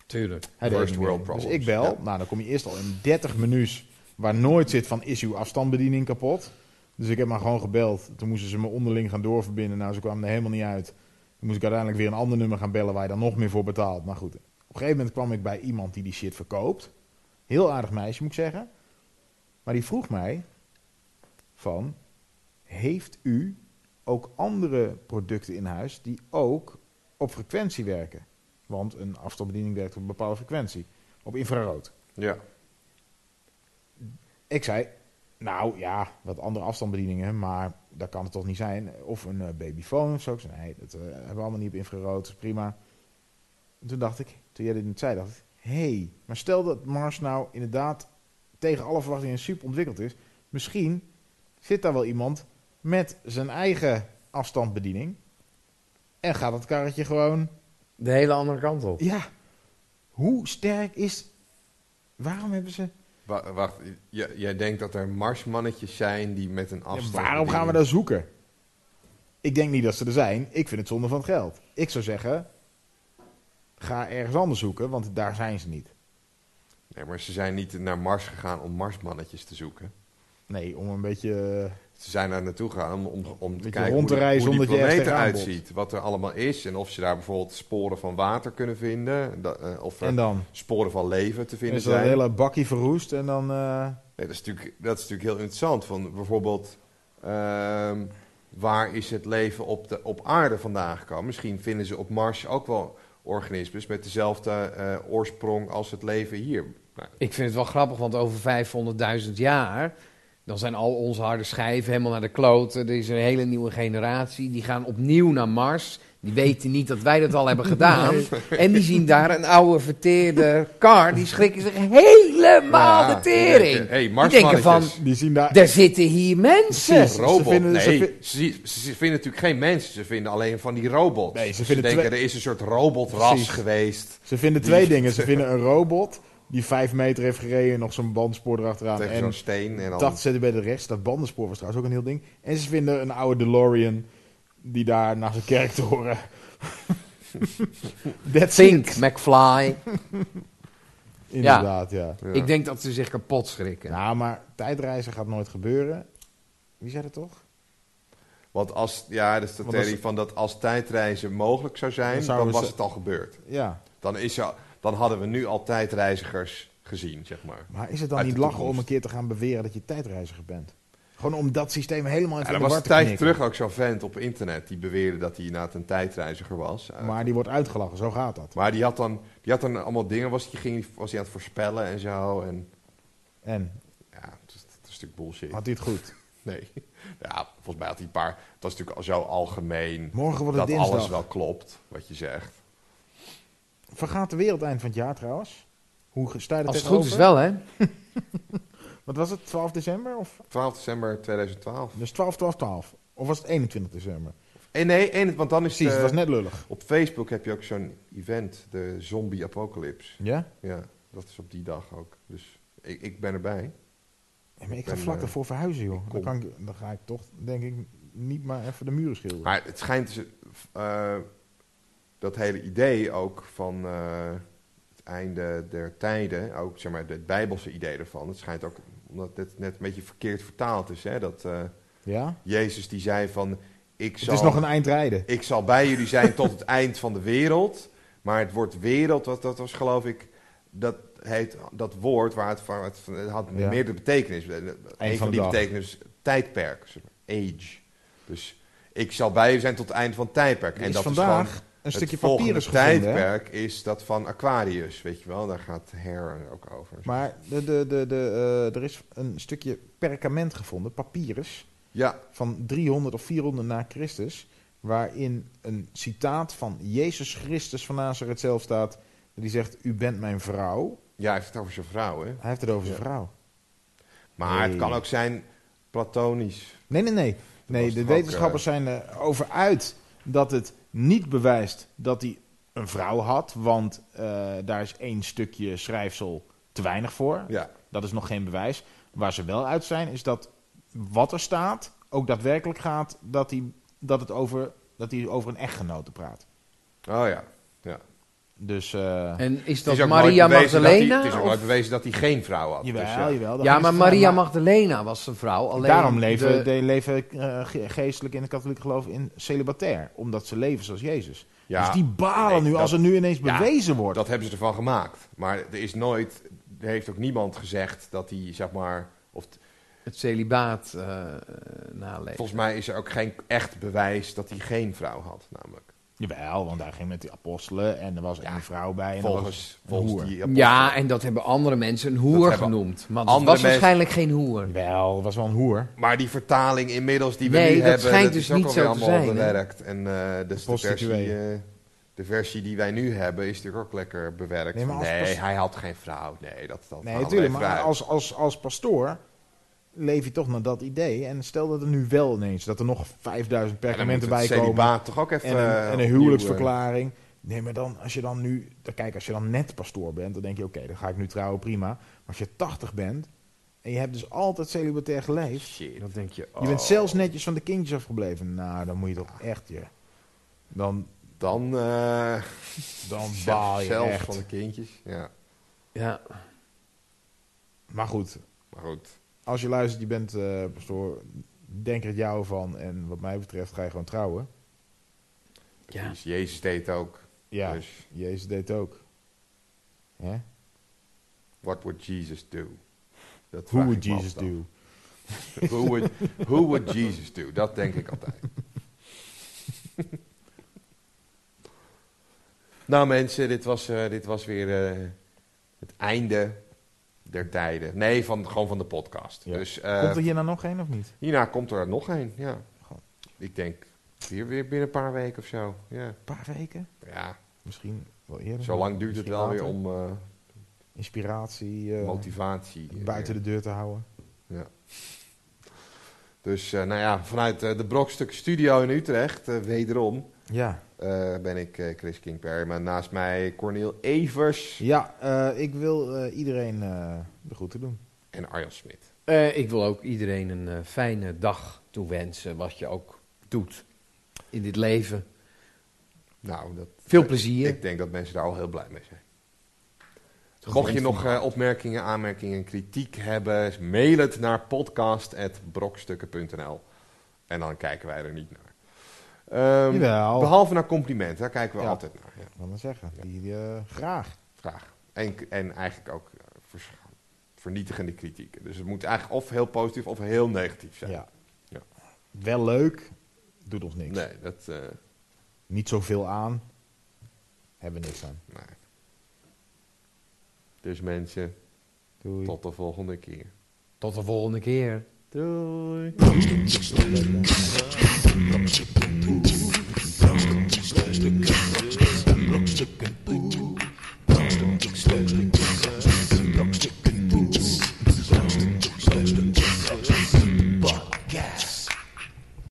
tuurlijk.
Hij deed
First
niet meer.
world problems.
Dus ik bel.
Ja.
Nou, dan kom je eerst al in 30 menus waar nooit zit van is uw afstandsbediening kapot. Dus ik heb maar gewoon gebeld. Toen moesten ze me onderling gaan doorverbinden. Nou, ze kwamen er helemaal niet uit. Toen moest ik uiteindelijk weer een ander nummer gaan bellen waar je dan nog meer voor betaalt. Maar goed, op een gegeven moment kwam ik bij iemand die die shit verkoopt. Heel aardig meisje, moet ik zeggen. Maar die vroeg mij van, heeft u ook andere producten in huis die ook op frequentie werken? Want een afstandsbediening werkt op een bepaalde frequentie. Op infrarood.
Ja.
Ik zei, nou ja, wat andere afstandsbedieningen, maar dat kan het toch niet zijn. Of een eh, babyfoon of zo. Ik zei, nee, dat eh, hebben we allemaal niet op infrarood, dat is prima. En toen dacht ik, toen jij dit niet zei, dacht ik, hé, hey, maar stel dat Mars nou inderdaad tegen alle verwachtingen super ontwikkeld is. Misschien zit daar wel iemand met zijn eigen afstandsbediening en gaat dat karretje gewoon
De hele andere kant op.
ja, hoe sterk is. Waarom hebben ze.
Wa- wacht, j- jij denkt dat er marsmannetjes zijn die met een
Ja,
afstand...
waarom gaan we daar zoeken? Ik denk niet dat ze er zijn. Ik vind het zonde van het geld. Ik zou zeggen. Ga ergens anders zoeken, want daar zijn ze niet.
Nee, maar ze zijn niet naar Mars gegaan om marsmannetjes te zoeken.
Nee, om een beetje. eh,
Ze zijn daar naartoe gegaan om, om, om te
je
kijken
rond te
hoe, die-
reizen
hoe die
zonder dat je ergens
planeet
tegenaan
eruit ziet. Wat er allemaal is. En of ze daar bijvoorbeeld sporen van water kunnen vinden. da- eh, of er
En dan?
sporen van leven te vinden
Is dat
zijn.
hele bakkie verroest en dan... eh,
Nee, dat, is natuurlijk, dat is natuurlijk heel interessant. Van bijvoorbeeld, ehm, waar is het leven op, de, op aarde vandaan gekomen? Misschien vinden ze op Mars ook wel organismes met dezelfde eh, oorsprong als het leven hier. Nou,
Ik vind het wel grappig, want over 500.000 jaar... dan zijn al onze harde schijven helemaal naar de kloten. Er is een hele nieuwe generatie. Die gaan opnieuw naar Mars. Die weten niet dat wij dat al hebben gedaan. En die zien daar een oude verteerde kar. Die schrikken zich helemaal
Ja,
de
die
tering.
denken, hey,
die denken van,
Marsmannetjes.
die zien daar...
er zitten hier mensen.
Precies. Ze
Robot.
vinden- ze
nee,
vi-
ze, zie- ze vinden natuurlijk geen mensen. Ze vinden alleen van die robots.
Nee, ze vinden
denken,
twee-
er is een soort robotras
Precies.
geweest.
Ze vinden
Die-
twee dingen. Ze vinden een robot die vijf meter heeft gereden en nog zo'n bandspoor erachteraan.
Tegen
En
zo'n steen. En dan,
80 cm bij de rest. Dat bandenspoor was trouwens ook een heel ding. En ze vinden een oude DeLorean die daar naar zijn kerktoren... That's
Think,
it.
McFly.
Inderdaad, ja.
Ja.
Ik denk dat ze zich kapot schrikken.
Nou, maar tijdreizen gaat nooit gebeuren. Wie zei dat toch?
Want als, ja, dat is de
Want
theorie
als-
van dat als tijdreizen mogelijk zou zijn,
Dan
dan,
zouden we
was
ze-
het al gebeurd.
Ja.
Dan, is er, dan hadden we nu al tijdreizigers gezien, zeg maar.
Maar is het dan
Uit de
niet lachen
toekomst.
om een keer te gaan beweren dat je tijdreiziger bent? Gewoon om dat systeem helemaal in
Ja,
ja,
er was
de war
een
te
tijdje
knikken.
terug ook zo'n vent op internet die beweerde dat hij inderdaad een tijdreiziger was. Eh,
Maar die wordt uitgelachen, zo gaat dat.
maar die had dan, die had dan allemaal dingen, was hij ging, was die aan het voorspellen en zo. En
En,
ja, het is, het is natuurlijk bullshit.
had hij het goed?
Nee. Ja, volgens mij had hij een paar. Het was natuurlijk al zo algemeen
Morgen wordt het
dat
dinsdag.
alles wel klopt wat je zegt.
Vergaat de wereld eind van het jaar trouwens? Hoe ge- sta je er
Als het goed
tegenover?
is wel, hè?
Wat was het, 12 december? Of?
12 december 2012.
Dus 12, 12, 12. Of was het 21 december? Eh,
En Eh, nee, en, want dan is
Precies,
de-
het was net lullig.
Op Facebook heb je ook zo'n event, de Zombie Apocalypse.
Ja?
Ja, dat is op die dag ook. Dus ik, ik ben erbij.
Ja, maar ik ga
ben,
vlak
eh,
daarvoor verhuizen, joh. Dan,
kom.
kan ik, dan ga ik toch, denk ik, niet maar even de muren schilderen.
Maar het schijnt dus, eh, dat hele idee ook van eh, het einde der tijden, ook zeg maar het bijbelse idee ervan. Het schijnt ook, omdat dit net een beetje verkeerd vertaald is, hè, dat eh,
Ja?
Jezus die zei van, ik
Het
zal,
is nog een eind rijden.
ik zal bij jullie zijn tot het eind van de wereld. Maar het woord wereld, dat, dat was geloof ik, dat heet dat woord waar het van, het, het had
Ja.
meerdere betekenis. Eh, Een
van
van,
de
die
dag.
betekenis tijdperk, zeg maar, age. Dus ik zal bij jullie zijn tot het eind van het tijdperk.
Er is
dat
vandaag
gewoon
een stukje
het volgende
papier is gevonden, hè?
tijdperk is dat van Aquarius, weet je wel. Daar gaat Hare ook over.
Maar de, de, de, de, eh, er is een stukje perkament gevonden, papyrus,
ja,
van 300 of 400 na Christus, waarin een citaat van Jezus Christus van Nazareth zelf staat, die zegt, u bent mijn vrouw.
ja, hij heeft het over zijn vrouw, hè.
Hij heeft het over zijn
Ja.
vrouw.
Maar
Nee.
het kan ook zijn platonisch.
Nee, nee, nee. nee
was
de
toch ook, eh.
wetenschappers zijn erover uit dat het niet bewijst dat hij een vrouw had, want eh, daar is één stukje schrijfsel te weinig voor.
Ja,
Dat is nog geen bewijs. Waar ze wel uit zijn, is dat wat er staat ook daadwerkelijk gaat dat hij, dat het over, dat hij over een echtgenote praat.
oh ja, ja.
Dus, eh
En is
Het
dat
is ook
Maria
nooit bewezen dat hij-
Magdalena?
Het is ook
of-
nooit bewezen dat hij geen vrouw had.
jawel,
Dus, ja.
jawel. daar
Ja,
gaan
maar
ze
Maria
vandaan.
Magdalena was zijn vrouw. Alleen
Daarom leven,
de-
de, leven eh, ge- geestelijk in het katholiek geloof in celibatair. Omdat ze leven zoals Jezus.
Ja,
dus die balen
nee,
nu
dat-
als er nu ineens
ja,
bewezen wordt.
Dat hebben ze ervan gemaakt. Maar er is nooit, er heeft ook niemand gezegd dat hij, zeg maar, of t-
het celibaat eh eh, naleeft.
volgens mij is er ook geen echt bewijs dat hij geen vrouw had, namelijk.
Jawel, want daar ging met die apostelen en er was
Ja,
een vrouw bij. En er was
Volgens,
een
volgens
hoer.
die
Ja,
apostelen.
en dat hebben andere mensen een hoer
hebben
genoemd. Maar het was
andere mensen-
waarschijnlijk geen hoer.
Jawel, er was wel een hoer.
Maar die vertaling inmiddels die we
Nee,
nu
dat
hebben,
schijnt
dat
dus
is ook
niet
alweer
zo te
allemaal
zijn, hè?
bewerkt. En eh, dus de versie,
Prostituee.
eh, de versie die wij nu hebben is natuurlijk ook lekker bewerkt.
Nee,
Nee,
maar als pas-
hij had geen vrouw. Nee, dat, dat
Nee,
halen we
natuurlijk.
even
Maar
uit.
als, als, als pastoor leef je toch naar dat idee. En stel dat er nu wel ineens, dat er nog
En
5000
dan moet
perkamenten
het
bij komen.
celibaat toch ook even...
En een,
eh,
en een
opnieuw,
huwelijksverklaring. Nee, maar dan, als je dan nu, dan kijk, als je dan net pastoor bent, dan denk je, oké, dan ga ik nu trouwen, prima. Maar als je 80 bent en je hebt dus altijd celibatair
eh,
geleefd.
shit. Oh,
Dat denk je.
Je bent zelfs netjes van de kindjes afgebleven. Nou, dan moet je toch echt je. Dan,
Dan eh
dan baal
zelf,
je
zelf
echt.
van de kindjes. Ja,
Ja.
Maar goed,
maar goed.
als je luistert, je bent eh, pastoor, denk er het jouw van. En wat mij betreft ga je gewoon trouwen.
Ja.
Dus Jezus deed ook.
Ja,
Dus
Jezus deed het ook. Hè?
what would Jesus do? Dat
Who
vraag
would
ik me
Jesus
altijd
do?
af. Who would, who would Jesus do? Dat denk ik altijd. nou mensen, dit was, eh, dit was weer eh, het einde der tijden. Nee, van, gewoon van de podcast.
Ja.
Dus, eh,
Komt er hier nou nog een of niet?
Hierna komt er nog een, ja. Ik denk weer, weer binnen een paar weken of zo. Ja,
Een paar weken?
ja
Misschien wel eerder.
zo lang duurt het
Misschien
wel weer
later.
om eh,
Inspiratie, eh,
motivatie. eh,
buiten de deur te houden.
Ja. Dus eh, nou ja, vanuit eh, de Brokstuk Studio in Utrecht, eh, wederom,
Ja,
eh, ben ik eh, Chris King Perryman. Naast mij Cornel Evers
ja eh, ik wil eh, iedereen eh, de groeten doen.
en Arjan Smit.
Eh, ik wil ook iedereen een eh, fijne dag toewensen, wat je ook doet in dit leven.
Nou, dat,
Veel plezier.
ik denk dat mensen daar al heel blij mee zijn. Mocht je nog eh, opmerkingen, aanmerkingen, kritiek hebben, mail het naar podcast.brokstukken.nl. En dan kijken wij er niet naar. Ehm,
Jawel.
behalve naar complimenten, daar kijken we
Ja.
altijd naar. Ja,
Wat dan zeggen? Die, eh, graag.
graag. En, en eigenlijk ook eh, vers- vernietigende kritieken. Dus het moet eigenlijk of heel positief of heel negatief
Ja.
zijn. Ja.
Wel leuk. Doet ons niks.
Nee, dat. eh,
Niet zoveel aan. Hebben we niks aan.
nee. Dus mensen,
Doei.
tot de volgende keer.
Tot de volgende keer.
Doei.
Brokstukken, brokstukken, brokstukken, brokstukken,